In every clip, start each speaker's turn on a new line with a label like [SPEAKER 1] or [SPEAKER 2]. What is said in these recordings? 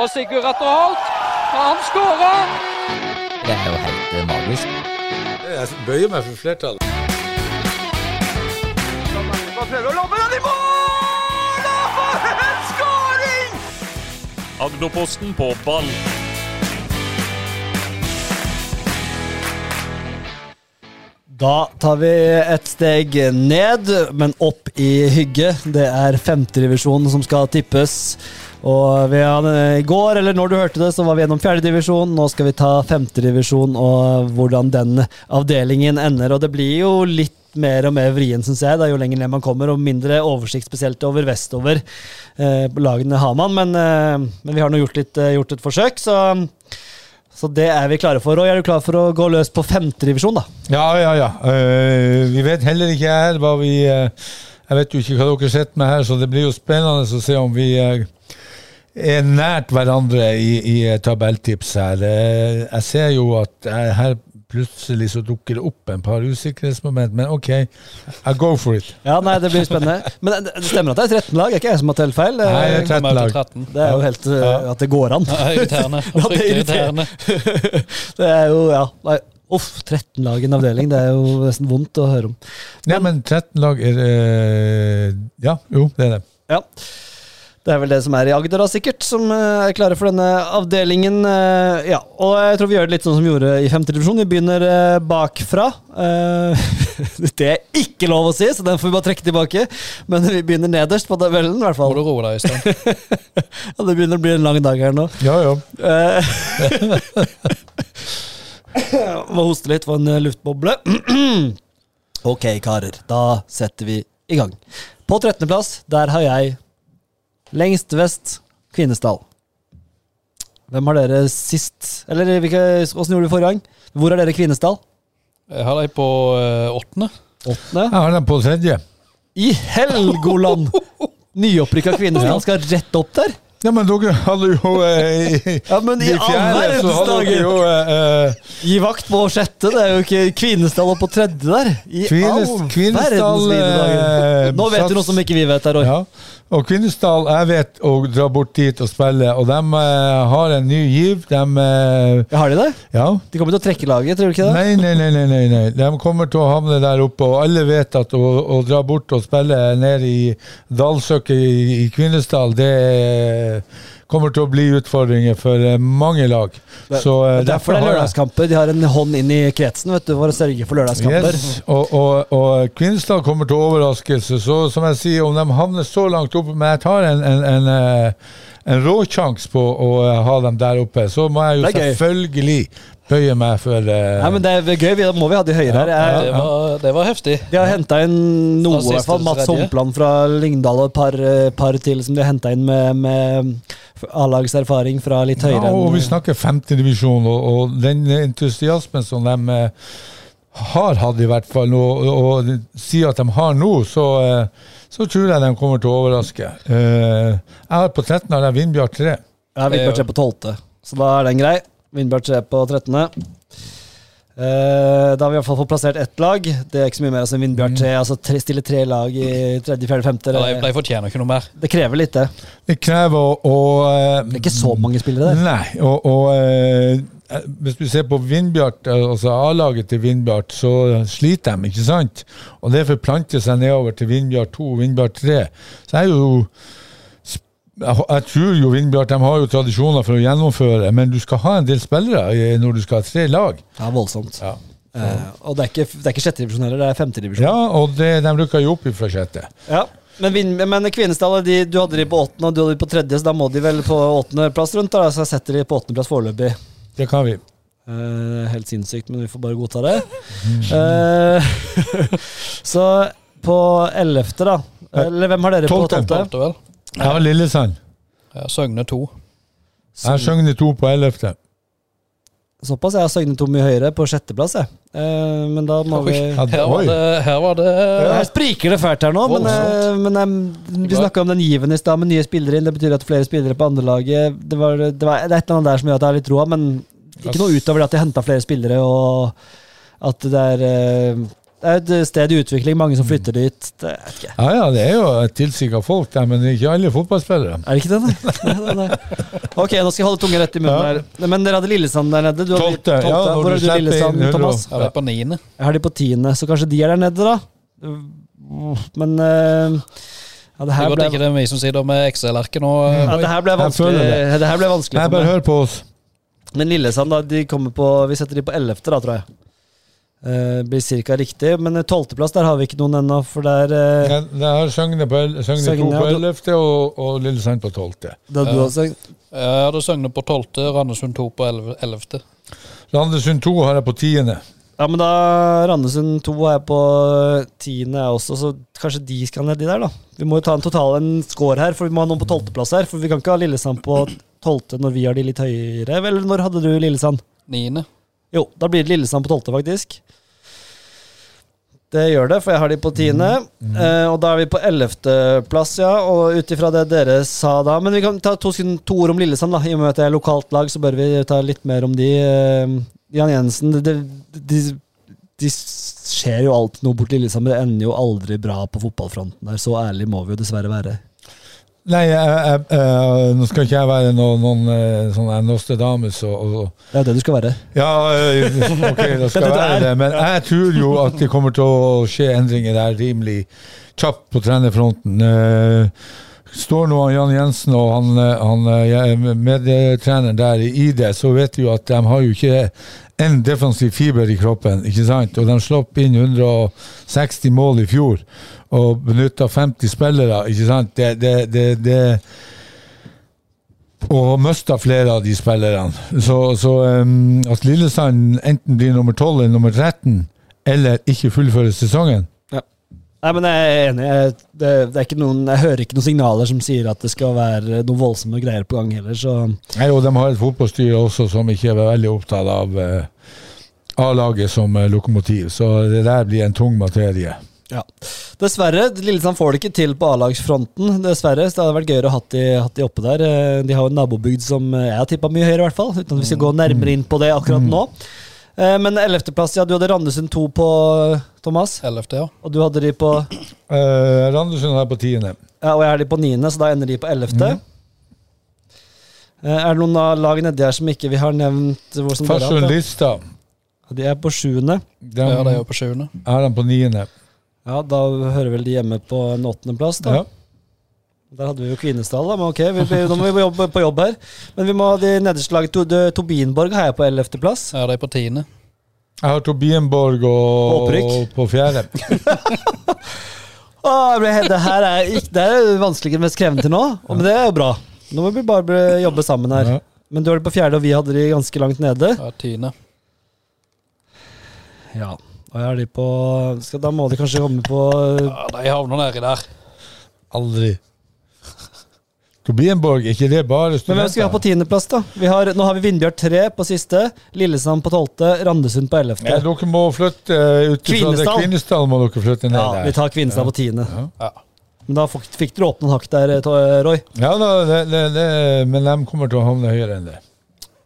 [SPEAKER 1] og Sigurd Atter Holt. Og han skårer!
[SPEAKER 2] Det er jo helt eh, magisk.
[SPEAKER 3] Jeg bøyer meg for flertallet.
[SPEAKER 4] Agderposten på ball.
[SPEAKER 5] Da tar vi et steg ned, men opp i hygge. Det er femtedivisjonen som skal tippes. Og vi hadde- I går, eller når du hørte det, så var vi gjennom fjerdedivisjon. Nå skal vi ta femtedivisjon og hvordan den avdelingen ender. Og det blir jo litt mer og mer vrien, syns jeg, da, jo lenger ned man kommer, og mindre oversikt spesielt over vestover. Eh, lagene har man, men, eh, men vi har nå gjort, litt, eh, gjort et forsøk, så, så det er vi klare for. Og er du klar for å gå løs på femtedivisjon, da?
[SPEAKER 3] Ja, ja, ja. Eh, vi vet heller ikke her hva vi eh, Jeg vet jo ikke hva dere sitter med her, så det blir jo spennende å se om vi eh, er nært hverandre i, i eh, tabelltips her. Eh, jeg ser jo at eh, her plutselig så dukker det opp en par usikkerhetsmoment, men OK, I go for it.
[SPEAKER 5] Ja, nei, det blir spennende. Men det det stemmer at det er 13 lag, det er ikke jeg som har telt feil.
[SPEAKER 6] Eh,
[SPEAKER 5] Det-
[SPEAKER 3] Nei, det er 13 lag.
[SPEAKER 5] Det er jo helt uh,
[SPEAKER 3] Ja.
[SPEAKER 5] at det går an.
[SPEAKER 6] Ja, irriterende.
[SPEAKER 5] Ja, det er
[SPEAKER 6] Fryktelig
[SPEAKER 5] irriterende.
[SPEAKER 6] irriterende.
[SPEAKER 5] det er jo, ja. Nei. Uff, 13 lag i en avdeling. Det er jo nesten vondt å høre om.
[SPEAKER 3] Nei, men 13 lag er eh, Ja, jo, det er det.
[SPEAKER 5] Ja. Det er vel det som er i Agder, da, sikkert, som eh, er klare for denne avdelingen. eh, Ja, og jeg tror vi gjør det litt sånn som vi gjorde i femte divisjon. Vi begynner eh, bakfra. Eh, Det er ikke lov å si, så den får vi bare trekke tilbake. Men vi begynner nederst på tabellen, i hvert
[SPEAKER 6] Må
[SPEAKER 5] fall.
[SPEAKER 6] du roe deg, Øystein.
[SPEAKER 5] Ja, det begynner å bli en lang dag her nå.
[SPEAKER 3] Ja, ja.
[SPEAKER 5] Eh, Må hoste litt for en eh, luftboble. ok, karer. Da setter vi i gang. På 13.-plass, der har jeg lengst vest Kvinesdal. Hvem har dere sist Eller hvilke, hvordan gjorde vi forrige gang? Hvor er dere Kvinesdal?
[SPEAKER 6] Jeg har deg på eh, åttende.
[SPEAKER 5] Åttende.
[SPEAKER 3] Jeg har dem på tredje.
[SPEAKER 5] I Helgoland! Nyopprykka Kvinesdal skal rett opp der.
[SPEAKER 3] Ja, men dere hadde jo eh, i,
[SPEAKER 5] Ja, men
[SPEAKER 3] i
[SPEAKER 5] i all
[SPEAKER 3] fjerde så
[SPEAKER 5] verdens
[SPEAKER 3] hadde dere
[SPEAKER 5] dager!
[SPEAKER 3] jo eh, eh,
[SPEAKER 5] Gi vakt på sjette, det er jo ikke Kvinesdal opp på tredje der. I
[SPEAKER 3] Kvines-
[SPEAKER 5] all
[SPEAKER 3] Kvinesdal,
[SPEAKER 5] verdens vide dager.
[SPEAKER 3] eh,
[SPEAKER 5] Nå vet
[SPEAKER 3] sats-
[SPEAKER 5] du noe som ikke vi vet her, Roy.
[SPEAKER 3] eh, Ja. Og Kvinesdal, jeg vet å dra bort dit og spille, og de eh, har en ny giv. De eh,
[SPEAKER 5] Ja, Har de det?
[SPEAKER 3] Ja.
[SPEAKER 5] De kommer til å trekke laget, tror du ikke det?
[SPEAKER 3] Nei, nei, nei, nei, nei, nei. De kommer til å havne der oppe, og alle vet at å, å dra bort og spille ned i dalsøkket i, i Kvinesdal, det eh, kommer til å bli utfordringer for eh, mange lag. Så eh,
[SPEAKER 5] Det er Derfor det
[SPEAKER 3] har
[SPEAKER 5] er
[SPEAKER 3] jeg-
[SPEAKER 5] lørdagskamper. De har en hånd inn i kretsen vet du, for å sørge for lørdagskamper.
[SPEAKER 3] Yes, og, og, og Kvinesdal kommer til overraskelse. Så som jeg sier, om de havner så langt oppe Men jeg tar en, en, en, eh, en råsjans på å eh, ha dem der oppe. Så må jeg jo
[SPEAKER 5] Det er gøy.
[SPEAKER 3] selvfølgelig bøye meg for eh,
[SPEAKER 5] Nei, men det er gøy. Vi, da må vi ha de høyere her. Jeg-
[SPEAKER 6] Det var, det var heftig.
[SPEAKER 5] De har henta inn noe, i
[SPEAKER 6] Fra
[SPEAKER 5] hvert fall.
[SPEAKER 6] siste til
[SPEAKER 5] Mats
[SPEAKER 6] tredje.
[SPEAKER 5] Hompland fra Lyngdal og et par, eh, par til som de har henta inn med, med A-lagserfaring fra litt høyere.
[SPEAKER 3] Ja, og
[SPEAKER 5] enn-
[SPEAKER 3] vi snakker femtedivisjon, og, og den entusiasmen som de eh, har hatt, i hvert fall, og, og, og sier at de har nå, så, eh, så tror jeg de kommer til å overraske. Eh, jeg har på 13 har jeg Vindbjart 3.
[SPEAKER 5] Ja, Vindbjart
[SPEAKER 6] Det
[SPEAKER 5] er på 12. Så da er den grei. Vindbjart er på 13. Eh, da har vi i hvert fall fått plassert ett lag. Det er ikke så mye mer altså, enn Vindbjart 3. Altså tre, stille tre lag i tredje, fjerde, femte.
[SPEAKER 6] Mm. Ja, De,
[SPEAKER 5] Det,
[SPEAKER 6] de fortjener ikke noe mer.
[SPEAKER 5] det krever litt, det.
[SPEAKER 3] Det krever å, å eh,
[SPEAKER 5] Det er ikke så mange spillere der.
[SPEAKER 3] Nei, og, og eh, hvis du ser på Vindbjart, eh, altså A-laget til Vindbjart, så sliter de, ikke sant? Og det forplanter seg nedover til Vindbjart 2 og Vindbjart 3. Så jeg er jo sp- jeg hå- jeg tror jo Vindbjart de har jo tradisjoner for å gjennomføre, men du skal ha en del spillere eh, når du skal ha tre lag.
[SPEAKER 5] Ja, voldsomt.
[SPEAKER 3] Ja,
[SPEAKER 5] Eh, og det er ikke, det er ikke sjette divisjon heller, det er femte divisjon.
[SPEAKER 3] og det, de rykker jo opp fra sjette.
[SPEAKER 5] Ja. Men, Vin- men Kvinesdal, de, du hadde de på åttende, og du hadde de på tredje, så da må de vel på åttendeplass rundt, da. Så jeg setter de på åttendeplass foreløpig.
[SPEAKER 3] Det kan vi.
[SPEAKER 5] Eh, helt sinnssykt, men vi får bare godta det. Eh, så på 11., da Eller hvem har dere på
[SPEAKER 3] Tolvte.
[SPEAKER 5] 12.?
[SPEAKER 6] Tolvte, vel?
[SPEAKER 3] Jeg har Lillesand.
[SPEAKER 6] Ja, Søgne to.
[SPEAKER 3] Jeg har Søgne 2 på 11.
[SPEAKER 5] Såpass. Jeg har Søgne to mye høyere, på sjetteplass. jeg. Eh, men da må
[SPEAKER 6] Oi.
[SPEAKER 5] vi
[SPEAKER 6] Her var det, her var det
[SPEAKER 5] her spriker det fælt her nå, men, eh, men eh, vi snakka om den given i stad med nye spillere inn. Det betyr at flere spillere på andrelaget det, var- det, var- det er et eller annet der som gjør at jeg har litt troa, men ikke noe utover det at de henta flere spillere og at det er eh, det er et sted i utvikling, mange som flytter dit. Det, jeg vet ikke.
[SPEAKER 3] Ja, ja, det er jo et tilsikka folk der, men det er ikke alle fotballspillere.
[SPEAKER 5] Er det ikke det, nei? Nei, nei, nei? Ok, nå skal jeg holde tunga rett i munnen her. Men dere hadde Lillesand der nede. Du hadde
[SPEAKER 3] Tolvte, ja, når
[SPEAKER 5] Hvor
[SPEAKER 3] du
[SPEAKER 5] har du
[SPEAKER 3] slipper inn
[SPEAKER 5] Lillesand,
[SPEAKER 3] 100
[SPEAKER 5] Thomas?
[SPEAKER 6] Jeg er på niende.
[SPEAKER 5] Jeg har de på tiende, så kanskje de er der nede, da. Men eh, ja, det
[SPEAKER 6] Det
[SPEAKER 5] her
[SPEAKER 6] er godt
[SPEAKER 5] ble,
[SPEAKER 6] ikke det er vi som sitter med Excel-arket nå.
[SPEAKER 5] ja, det her ble
[SPEAKER 3] Jeg føler
[SPEAKER 5] vanskelig, sånn det her ble vanskelig
[SPEAKER 3] Nei,
[SPEAKER 5] for
[SPEAKER 3] bare
[SPEAKER 5] meg.
[SPEAKER 3] hør på oss.
[SPEAKER 5] Men Lillesand, da, de kommer på Vi setter de på ellevte, da, tror jeg. Eh, blir cirka riktig. Men tolvteplass, der har vi ikke noen ennå, for der eh,
[SPEAKER 3] Jeg, jeg har Søgne på el- Søgne to
[SPEAKER 5] Søgne,
[SPEAKER 3] på
[SPEAKER 5] ja, du-
[SPEAKER 3] ellevte og, og Lillesand på tolvte.
[SPEAKER 5] Det hadde du også
[SPEAKER 6] Jeg hadde Søgne på tolvte, Randesund to på elv- ellevte.
[SPEAKER 3] Landesund to har jeg på tiende.
[SPEAKER 5] Ja, men da Randesund 2 er på eh, tiende jeg også, så kanskje de skal ned de der, da. Vi må jo ta en total en score her, for vi må ha noen på tolvteplass her. For vi kan ikke ha Lillesand på tolvte når vi har de litt høyere. Vel, når hadde du Lillesand?
[SPEAKER 6] Niende.
[SPEAKER 5] Jo, da blir det Lillesand på tolvte, faktisk. Det gjør det, for jeg har de på tiende. Eh, og da er vi på ellevteplass, ja. Og ut ifra det dere sa da Men vi kan ta to, sekunder- to ord om Lillesand, da. I og med at det er lokalt lag, så bør vi ta litt mer om de. Eh, Jan Jensen, det, det, de, de skjer jo alltid noe borti Lillesand, men det ender jo aldri bra på fotballfronten der. Så ærlig må vi jo dessverre være.
[SPEAKER 3] Nei, jeg, jeg, jeg, nå skal ikke jeg være noen, noen eh, sånn her Nostradamus og, og
[SPEAKER 5] Det er jo det du skal være.
[SPEAKER 3] Ja, eh, ok, da skal jeg være det. Men jeg tror jo at det kommer til å skje endringer der rimelig kjapt på trenerfronten. Eh, Står nå Jan Jensen og han, eh, han eh, jeg- medtreneren der i det, så vet vi jo at de har jo ikke en defensiv fiber i kroppen, ikke sant? Og de slapp inn 160 mål i fjor og benytta 50 spillere, ikke sant? Det, det, det, det og mista flere av de spillerne. Så, så um, at Lillesand enten blir nummer 12 eller nummer 13, eller ikke fullfører sesongen
[SPEAKER 5] Nei, men jeg er enig. Jeg, det, det er ikke noen, jeg hører ikke noen signaler som sier at det skal være noen voldsomme greier på gang heller, så
[SPEAKER 3] Nei, og de har et fotballstyre også som ikke er veldig opptatt av eh, A-laget som eh, lokomotiv, så det der blir en tung materie.
[SPEAKER 5] ja. Dessverre, Lillesand får det ikke til på A-lagsfronten. Dessverre, så det hadde vært gøyere å ha de, hatt de oppe der. Eh, De har jo en nabobygd som eh, jeg har tippa mye høyere, i hvert fall. Uten at vi skal gå nærmere inn på det akkurat nå. Eh, Men 11.-plass, ja, du hadde Randesund 2 på, Thomas.
[SPEAKER 6] Ellevte, ja.
[SPEAKER 5] Og du hadde de på
[SPEAKER 3] Eh, Randesund er på tiende.
[SPEAKER 5] Ja, og jeg er de på niende, så da ender de på ellevte. Eh, Er det noen av lag nedi her som ikke vi har nevnt? hvor som dere har hatt,
[SPEAKER 3] Farsund
[SPEAKER 5] da?
[SPEAKER 3] Lista
[SPEAKER 5] Ja, De er på sjuende.
[SPEAKER 3] de,
[SPEAKER 6] Ja, det er
[SPEAKER 3] er
[SPEAKER 6] jo på sjuende.
[SPEAKER 3] de på niende.
[SPEAKER 5] Ja, da hører vel de hjemme på en åttendeplass, da.
[SPEAKER 3] Ja.
[SPEAKER 5] Der hadde vi jo Kvinesdal, da. Men ok, vi, vi, nå må vi jobbe på jobb her. Men vi må ha de nederste laget. To, de, Tobinborg har jeg på ellevteplass.
[SPEAKER 6] Ja, det er på tiende.
[SPEAKER 3] Jeg har Tobienborg og,
[SPEAKER 5] Opprykk.
[SPEAKER 3] på fjerde.
[SPEAKER 5] Åh, jeg ble helt- Det her er ikke Det er vanskelig mest krevende til nå, og, men det er jo bra. Nå må vi bare bli- jobbe sammen her.
[SPEAKER 3] Ja.
[SPEAKER 5] Men du har det på fjerde, og vi hadde de ganske langt nede.
[SPEAKER 6] Ja, tiende.
[SPEAKER 5] Ja. Og jeg har de på skal, Da må de kanskje komme på
[SPEAKER 6] Ja, de havner nedi der.
[SPEAKER 3] Aldri. Tobienborg, er ikke det bare
[SPEAKER 5] Men hvem skal vi ha på tiendeplass, da? Vi har, nå har vi Vindbjørn tre på siste, Lillesand på tolvte, Randesund på
[SPEAKER 3] Ja,
[SPEAKER 5] ellevte.
[SPEAKER 3] dere må flytte eh, ut fra det
[SPEAKER 5] Kvinesdal.
[SPEAKER 3] Kvinesdal. må dere flytte ned
[SPEAKER 5] Ja, vi
[SPEAKER 3] der.
[SPEAKER 5] tar Kvinesdal på tiende.
[SPEAKER 6] Ja.
[SPEAKER 5] Men da fikk, fikk dere åpne en hakk der, eh, Toy- Roy.
[SPEAKER 3] Ja, da, det, det, det, men de kommer til å havne høyere enn det.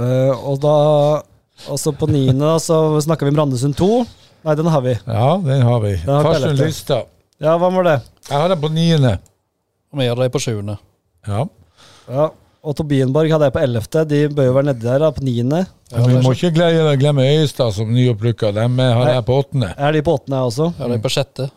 [SPEAKER 5] Eh, og da også på niende da, så snakka vi om Randesund 2. Nei, den har vi.
[SPEAKER 3] Ja, den har vi.
[SPEAKER 5] har vi
[SPEAKER 3] Farsund
[SPEAKER 5] ellevte.
[SPEAKER 3] Lista.
[SPEAKER 5] Ja, hva var det?
[SPEAKER 3] Jeg har dem på niende.
[SPEAKER 6] Og vi hadde de på sjuende.
[SPEAKER 3] Ja.
[SPEAKER 5] Ja. Og Tobienborg hadde jeg på ellevte. De bør jo være nedi der, da, på niende.
[SPEAKER 6] Ja,
[SPEAKER 3] vi
[SPEAKER 6] det er
[SPEAKER 3] må ikke glemme, glemme Øyestad som nyopprykka. Dem eh, har jeg på åttende.
[SPEAKER 5] Er de på åttende, jeg også?
[SPEAKER 6] Ja, de er på sjette.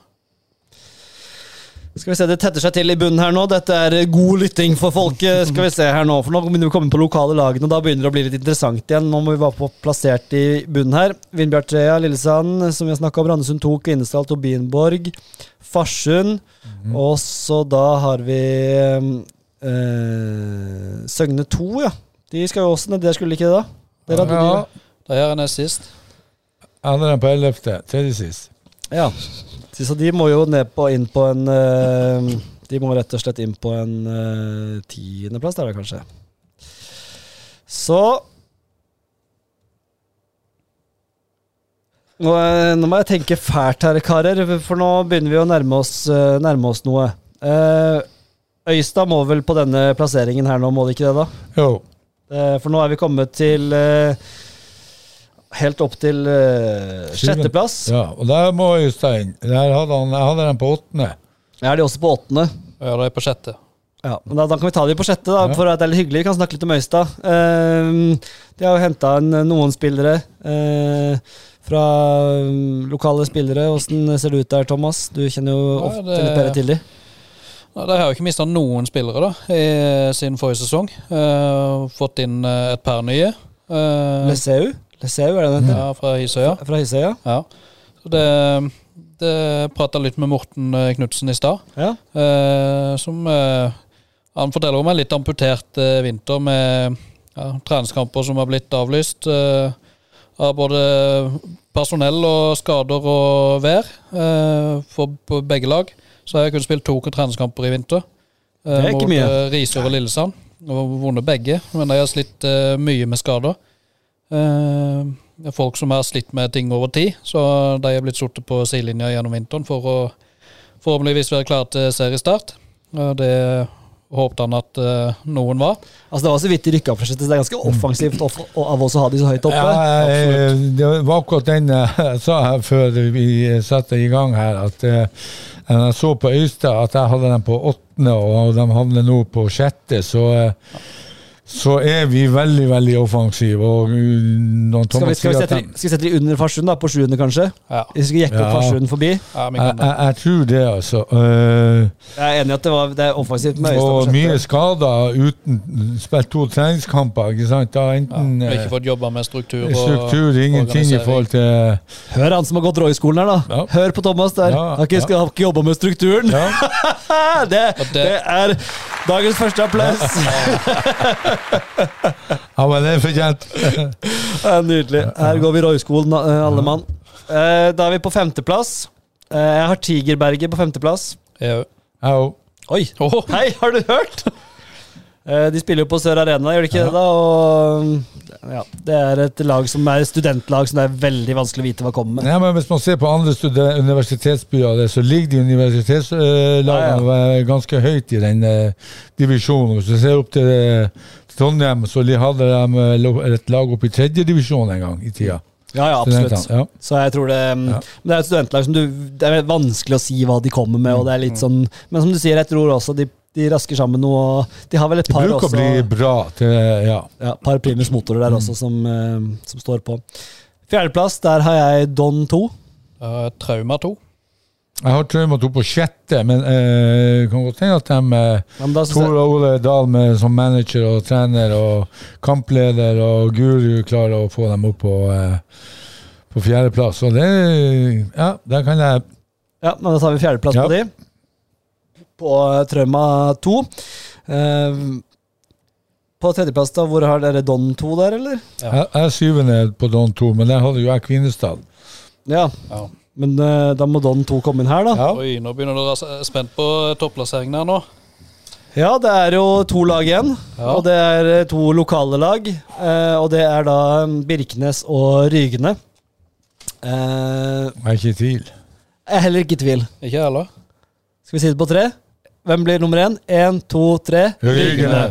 [SPEAKER 5] Skal vi se, Det tetter seg til i bunnen her nå. Dette er eh, god lytting for folket. Skal vi se her Nå for nå begynner vi å komme på lokale lagene, og da begynner det å bli litt interessant igjen. Nå må vi være på plassert i bunnen her. Vindbjart Trea, Lillesand, som vi har snakka om. Randesund 2, Kvinesdal, Tobienborg, Farsund. Og så da har vi eh, Søgne 2, ja. De skal jo også ned der, skulle de ikke det? da? Der hadde
[SPEAKER 3] Ja,
[SPEAKER 6] De her er nest sist.
[SPEAKER 3] jeg hadde dem på ellevte. Tredje sist.
[SPEAKER 5] de Ja. Så de må jo ned på, inn på en eh, De må rett og slett inn på en eh, tiendeplass, der da, kanskje. Så nå, eh, nå må jeg tenke fælt her, karer, for nå begynner vi å nærme oss, eh, nærme oss noe. Eh, Øystad må vel på denne plasseringen her nå, må de ikke det, da?
[SPEAKER 3] Jo.
[SPEAKER 5] Eh, For nå er vi kommet til eh, helt opp til eh, sjetteplass.
[SPEAKER 3] Ja, og der må Øystein Der hadde han, Jeg hadde den på åttende.
[SPEAKER 5] Er de også på åttende?
[SPEAKER 6] Ja, det er på sjette.
[SPEAKER 5] Ja, men da, da kan vi ta de på sjette, da,
[SPEAKER 3] Ja.
[SPEAKER 5] for at det er litt hyggelig. Vi kan snakke litt om Øystad. Ehm, de har jo henta noen spillere eh, fra mm, lokale spillere. Åssen ser det ut der, Thomas? Du kjenner jo
[SPEAKER 6] Ja,
[SPEAKER 5] ofte
[SPEAKER 6] det-
[SPEAKER 5] litt bedre til de.
[SPEAKER 6] Nei, De har jo ikke mista noen spillere da, i, siden forrige sesong. Eh, fått inn eh, et par nye. Eh,
[SPEAKER 5] Leseu? Leseu, er det den heter?
[SPEAKER 6] ja, fra Hisøya.
[SPEAKER 5] Fra Hisøya?
[SPEAKER 6] Ja. Så det, det prata litt med Morten eh, Knutsen i stad.
[SPEAKER 5] Ja.
[SPEAKER 6] Eh, som eh, Han forteller om en litt amputert eh, vinter med ja, treningskamper som har blitt avlyst. Eh, av både personell og skader og vær eh, for på begge lag. Så har jeg kun spilt to treningskamper i vinter. Eh,
[SPEAKER 5] Det er ikke
[SPEAKER 6] mot
[SPEAKER 5] mye.
[SPEAKER 6] eh, Risør og Lillesand. Og vunnet begge, men de har slitt eh, mye med skader. Eh, det er folk som har slitt med ting over tid, så de er blitt sittet på sidelinja gjennom vinteren for å forhåpentligvis være klare til seriestart. Eh, Det håpte han at eh, noen var.
[SPEAKER 5] Altså, det var så vidt de rykka opp, så det er ganske offensivt off og av oss å ha de så høyt oppe.
[SPEAKER 3] Ja, jeg, det var akkurat den eh, jeg sa her før vi satte i gang her, at eh, når jeg så på Øystad at jeg hadde dem på åttende, og de havner nå på sjette, så eh, så er vi veldig, veldig offensive. Og uh, når
[SPEAKER 5] Skal vi,
[SPEAKER 3] Thomas
[SPEAKER 5] skal, vi
[SPEAKER 3] sier at
[SPEAKER 5] sette,
[SPEAKER 3] de,
[SPEAKER 5] de- skal vi sette de under Farsund, da? På sjuende, kanskje?
[SPEAKER 6] Ja,
[SPEAKER 5] Hvis vi jekker opp
[SPEAKER 3] Ja.
[SPEAKER 5] Farsund forbi?
[SPEAKER 6] ja vi
[SPEAKER 3] jeg,
[SPEAKER 5] Eh,
[SPEAKER 6] kan det.
[SPEAKER 3] jeg, jeg tror det, altså. Eh,
[SPEAKER 5] Jeg er enig i at det, var, det er offensivt med Øystad. på
[SPEAKER 3] og
[SPEAKER 5] sjette.
[SPEAKER 3] mye skader uten spilt to treningskamper. ikke sant? Da
[SPEAKER 6] Ja,
[SPEAKER 3] enten
[SPEAKER 6] vi har
[SPEAKER 3] eh,
[SPEAKER 6] ikke fått jobba med struktur og
[SPEAKER 3] struktur, ingenting i
[SPEAKER 6] organisering.
[SPEAKER 3] forhold til
[SPEAKER 5] Hør han som har gått Roy-skolen her, da.
[SPEAKER 3] Ja.
[SPEAKER 5] Hør på Thomas der.
[SPEAKER 3] Ja,
[SPEAKER 5] har ikke,
[SPEAKER 3] ja.
[SPEAKER 5] skal, har ikke jobba med strukturen.
[SPEAKER 3] Ja.
[SPEAKER 5] det,
[SPEAKER 6] Og
[SPEAKER 5] det
[SPEAKER 6] det-
[SPEAKER 5] er dagens første applaus.
[SPEAKER 3] Ja, men det er fortjent.
[SPEAKER 5] Det er Nydelig. Her går vi Roy-skolen, eh, alle mann. Eh, Da er vi på femteplass. Eh, Jeg har Tigerberget på femteplass.
[SPEAKER 6] Ja.
[SPEAKER 3] Ja, jo.
[SPEAKER 5] Oi!
[SPEAKER 6] Åh,
[SPEAKER 5] Hei, har du hørt? Eh, De spiller jo på Sør Arena, gjør de ikke det? da? Og ja, Det er et lag som er studentlag som det er veldig vanskelig å vite hva kommer med.
[SPEAKER 3] Nei, men Hvis man ser på andre studi- universitetsbyer, og det, så ligger de universitetslagene eh, ganske høyt i den eh, divisjonen. Hvis du ser opp til eh, Trondheim, så li- hadde de eh, lo- et lag oppe i tredjedivisjon en gang i tida.
[SPEAKER 5] Ja, ja, absolutt.
[SPEAKER 3] Ja.
[SPEAKER 5] Så jeg tror det um, Men det er et studentlag som du Det er vanskelig å si hva de kommer med, og det er litt
[SPEAKER 3] Mm.
[SPEAKER 5] sånn Men som du sier, jeg tror også de, de rasker sammen noe, og de har vel et
[SPEAKER 3] Det
[SPEAKER 5] par
[SPEAKER 3] bruker
[SPEAKER 5] også
[SPEAKER 3] å bli Mm. bra til eh, ja.
[SPEAKER 5] ja, par primus motorer der også som, eh, som står på. Fjerdeplass, der har jeg Don 2.
[SPEAKER 6] eh, Trauma 2.
[SPEAKER 3] Jeg har Trauma 2 på sjette, men eh, kan godt hende at de eh,
[SPEAKER 5] Ja, men da synes
[SPEAKER 3] Tor
[SPEAKER 5] jeg,
[SPEAKER 3] Ole Dahl med, som manager og trener og kampleder og guru klarer å få dem opp på, eh, på fjerdeplass. Og det Ja, der kan jeg
[SPEAKER 5] ja, men da tar vi fjerdeplass
[SPEAKER 3] Ja.
[SPEAKER 5] på de. På eh, Trauma 2. Eh, på tredjeplass, da, hvor har dere Don 2 der, eller?
[SPEAKER 6] Ja.
[SPEAKER 3] Jeg jeg er syvende på Don 2, men der hadde jo jeg Kvinesdal.
[SPEAKER 5] Ja,
[SPEAKER 6] Ja.
[SPEAKER 5] men eh, da må Don 2 komme inn her, da.
[SPEAKER 6] Oi, nå begynner dere å være s- spent på topplasseringen her nå.
[SPEAKER 5] Ja, det er jo to lag igjen,
[SPEAKER 6] Ja.
[SPEAKER 5] og det er eh, to lokale lag. eh, Og det er da mm, Birkenes og Rygene. Eh,
[SPEAKER 3] Jeg er ikke i tvil.
[SPEAKER 5] Jeg er heller ikke i tvil.
[SPEAKER 6] Ikke jeg heller.
[SPEAKER 5] Skal vi si det på tre? Hvem blir nummer én? Én, to, tre.
[SPEAKER 3] Rygene.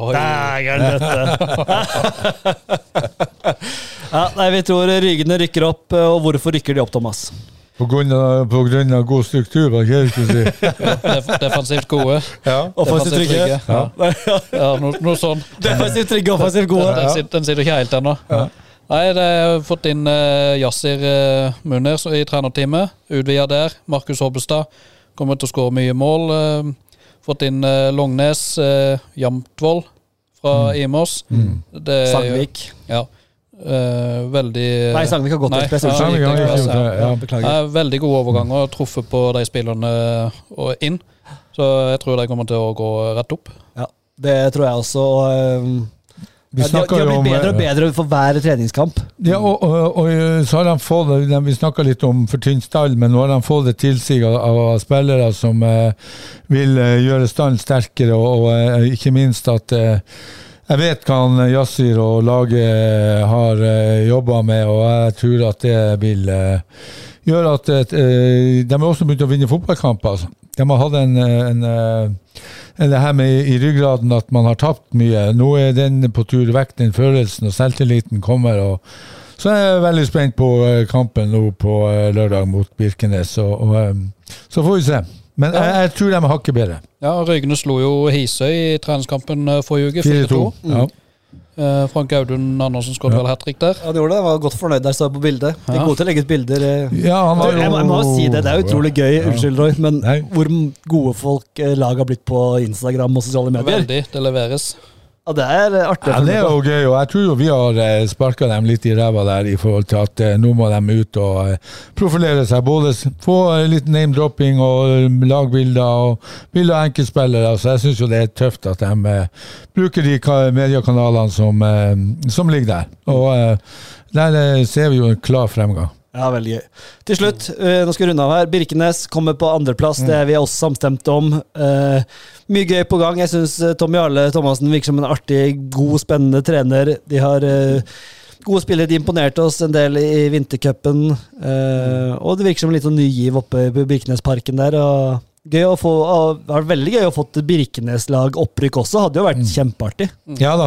[SPEAKER 6] Oi.
[SPEAKER 5] Dægeren, dette! ja, nei, vi tror Rygene rykker opp, eh, og hvorfor rykker de opp, Thomas?
[SPEAKER 3] På grunn, av, på grunn av god struktur, var det ikke det du skulle si?
[SPEAKER 6] Def defensivt gode.
[SPEAKER 3] ja.
[SPEAKER 5] Offensivt
[SPEAKER 6] Defensivt
[SPEAKER 5] trygge.
[SPEAKER 6] Ja, ja no, noe sånn.
[SPEAKER 5] Defensivt trygge, offensivt gode.
[SPEAKER 6] Den, sitter, den sitter ikke helt ennå. Nei, det er fått inn eh, Yasir eh, Munir så- i trenerteamet. Utvida der. Markus Hobbestad kommer til å skåre mye mål. Eh, fått inn eh, Longnes, eh, Jamtvoll fra Imos. Det er jo-
[SPEAKER 5] Sangvik.
[SPEAKER 6] Ja. Eh, veldig
[SPEAKER 5] Nei, Sangvik har gått
[SPEAKER 6] Nei,
[SPEAKER 5] til Ekspress.
[SPEAKER 6] ja,
[SPEAKER 5] unnskyld.
[SPEAKER 3] Sangvik har
[SPEAKER 5] Gikk
[SPEAKER 3] gått
[SPEAKER 5] til
[SPEAKER 3] til
[SPEAKER 5] Ekspress, ja. altså-
[SPEAKER 3] Ekspress, ja.
[SPEAKER 5] Ja, Beklager.
[SPEAKER 6] Eh, veldig gode overganger og truffet på de spillerne eh, og inn. Så jeg tror de kommer til å gå rett opp.
[SPEAKER 5] Ja, det tror jeg også. og, eh,
[SPEAKER 3] Vi
[SPEAKER 5] Ja, de, de
[SPEAKER 3] snakker
[SPEAKER 5] har
[SPEAKER 3] jo om eh,
[SPEAKER 5] blitt bedre og bedre for hver treningskamp.
[SPEAKER 3] Ja, og, og, og eh, så har de fått de- Vi snakka litt om for tynn stall, men nå har de fått et tilsig av, av spillere som eh, vil eh, gjøre stallen sterkere, og, og eh, ikke minst at eh, jeg vet hva han Yasir og laget eh, har eh, jobba med, og jeg tror at det vil eh, gjøre at eh, De har også begynt å vinne fotballkamper. Altså. De har hatt en, eh, en, eh, en det her med i ryggraden at man har tapt mye. Nå er den på tur vekk, den følelsen, og selvtilliten kommer. og Så er jeg veldig spent på eh, kampen nå på eh, lørdag mot Birkenes, og, og eh, så får vi se. Men jeg, jeg tror de hakker bedre.
[SPEAKER 6] Ja, Rygne slo jo Hisøy i treningskampen eh, forrige uke,
[SPEAKER 3] 4-2.
[SPEAKER 6] 4-2.
[SPEAKER 5] Mm.
[SPEAKER 3] Ja.
[SPEAKER 6] Eh, Frank Audun Andersen skåret vel hat trick der.
[SPEAKER 5] Ja, det gjorde det. Jeg var godt fornøyd der jeg så på bildet. De er
[SPEAKER 6] Ja.
[SPEAKER 5] gode til å legge ut bilder. eh.
[SPEAKER 3] Ja, han var
[SPEAKER 5] Jeg, må- jeg må jo si det, det er utrolig gøy, unnskyld Roy, men
[SPEAKER 3] Nei.
[SPEAKER 5] hvor gode folk eh, lag har blitt på Instagram og sosiale medier.
[SPEAKER 6] Veldig. Det leveres.
[SPEAKER 5] Ja, det er eh,
[SPEAKER 3] Ja,
[SPEAKER 5] artig. å
[SPEAKER 3] det
[SPEAKER 5] følge
[SPEAKER 3] er
[SPEAKER 5] med på.
[SPEAKER 3] jo gøy, og jeg tror jo vi har sparka dem litt i ræva der i forhold til at eh, nå må de ut og eh, profilere seg. Både s- få eh, litt name-dropping og eh, lagbilder og bilder av enkeltspillere. Så jeg syns jo det er tøft at de eh, bruker de ka- mediekanalene som, eh, som ligger der. Og eh, der eh, ser vi jo en klar fremgang.
[SPEAKER 5] Ja, veldig gøy. Til slutt, eh, nå skal vi runde av her. Birkenes kommer på andreplass, det er vi også samstemte om. Eh, mye gøy på gang. Jeg syns Tom Jarle Thomassen virker som en artig, god, spennende trener. De har eh, gode spillere, de imponerte oss en del i vintercupen. Eh, og det virker som en liten ny giv oppe på Birkenesparken der. og... Gøy å få, og det har vært veldig gøy å få et Birkenes-lag opprykk også. Hadde jo vært kjempeartig.
[SPEAKER 3] Ja da.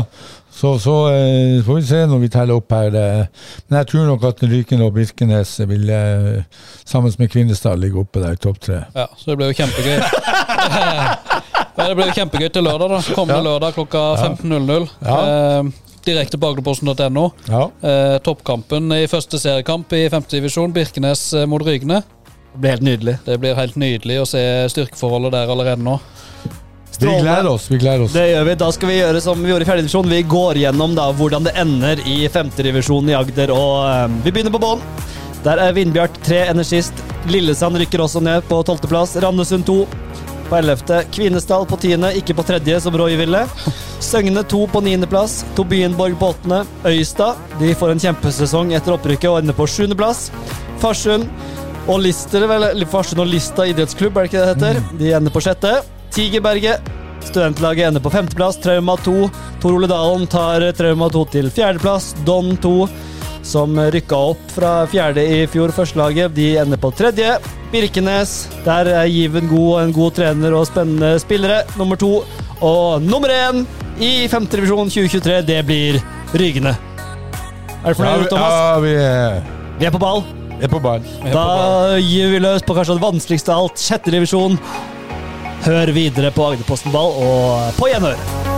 [SPEAKER 3] Så, så eh, får vi se når vi teller opp her. Det. Men jeg tror nok at Ryken og Birkenes vil, eh, sammen med Kvinesdal, ligge oppe der i topp tre.
[SPEAKER 6] Ja, så det blir jo kjempegøy. ja, det blir jo kjempegøy til lørdag, da. Kommende lørdag klokka 15.00.
[SPEAKER 3] Ja.
[SPEAKER 6] Eh, direkte på agderposten.no.
[SPEAKER 3] Ja.
[SPEAKER 6] Eh, toppkampen i første seriekamp i femte divisjon, Birkenes eh, mot Rygne.
[SPEAKER 5] Det ble helt nydelig.
[SPEAKER 6] Det blir helt nydelig å se styrkeforholdet der allerede nå.
[SPEAKER 3] Vi gleder oss. vi gleder oss.
[SPEAKER 5] Det gjør vi. Da skal vi gjøre som vi gjorde i fjerde divisjon. Vi går gjennom da hvordan det ender i femte divisjon i Agder, og eh, vi begynner på bånn. Der er Vindbjart 3 energist. Lillesand rykker også ned på tolvteplass. Randesund 2 på ellevte. Kvinesdal på tiende, ikke på tredje, som Roy ville. Søgne 2 på niendeplass. Tobienborg på åttende. Øystad de får en kjempesesong etter opprykket og ender på sjuendeplass. Farsund og Lister, vel, eller Farsund og Lista idrettsklubb, er det ikke det
[SPEAKER 3] Mm.
[SPEAKER 5] det heter? De ender på sjette. Tigerberget Studentlaget ender på femteplass, Trauma 2. Tor Ole Dalen tar Trauma 2 til fjerdeplass. Don 2, som rykka opp fra fjerde i fjor, førstelaget, de ender på tredje. Birkenes, der er Given god og en god trener og spennende spillere. Nummer to. Og nummer én i femtedivisjon 2023, det blir Rygene.
[SPEAKER 3] Ja,
[SPEAKER 5] Er du fornøyd,
[SPEAKER 3] vi-
[SPEAKER 5] Thomas?
[SPEAKER 3] Ja, vi er,
[SPEAKER 5] Vi er på ball.
[SPEAKER 3] er på ball.
[SPEAKER 5] Da gir vi løs på kanskje det vanskeligste av alt, sjette divisjon. Hør videre på Agderposten Ball, og på gjenhør.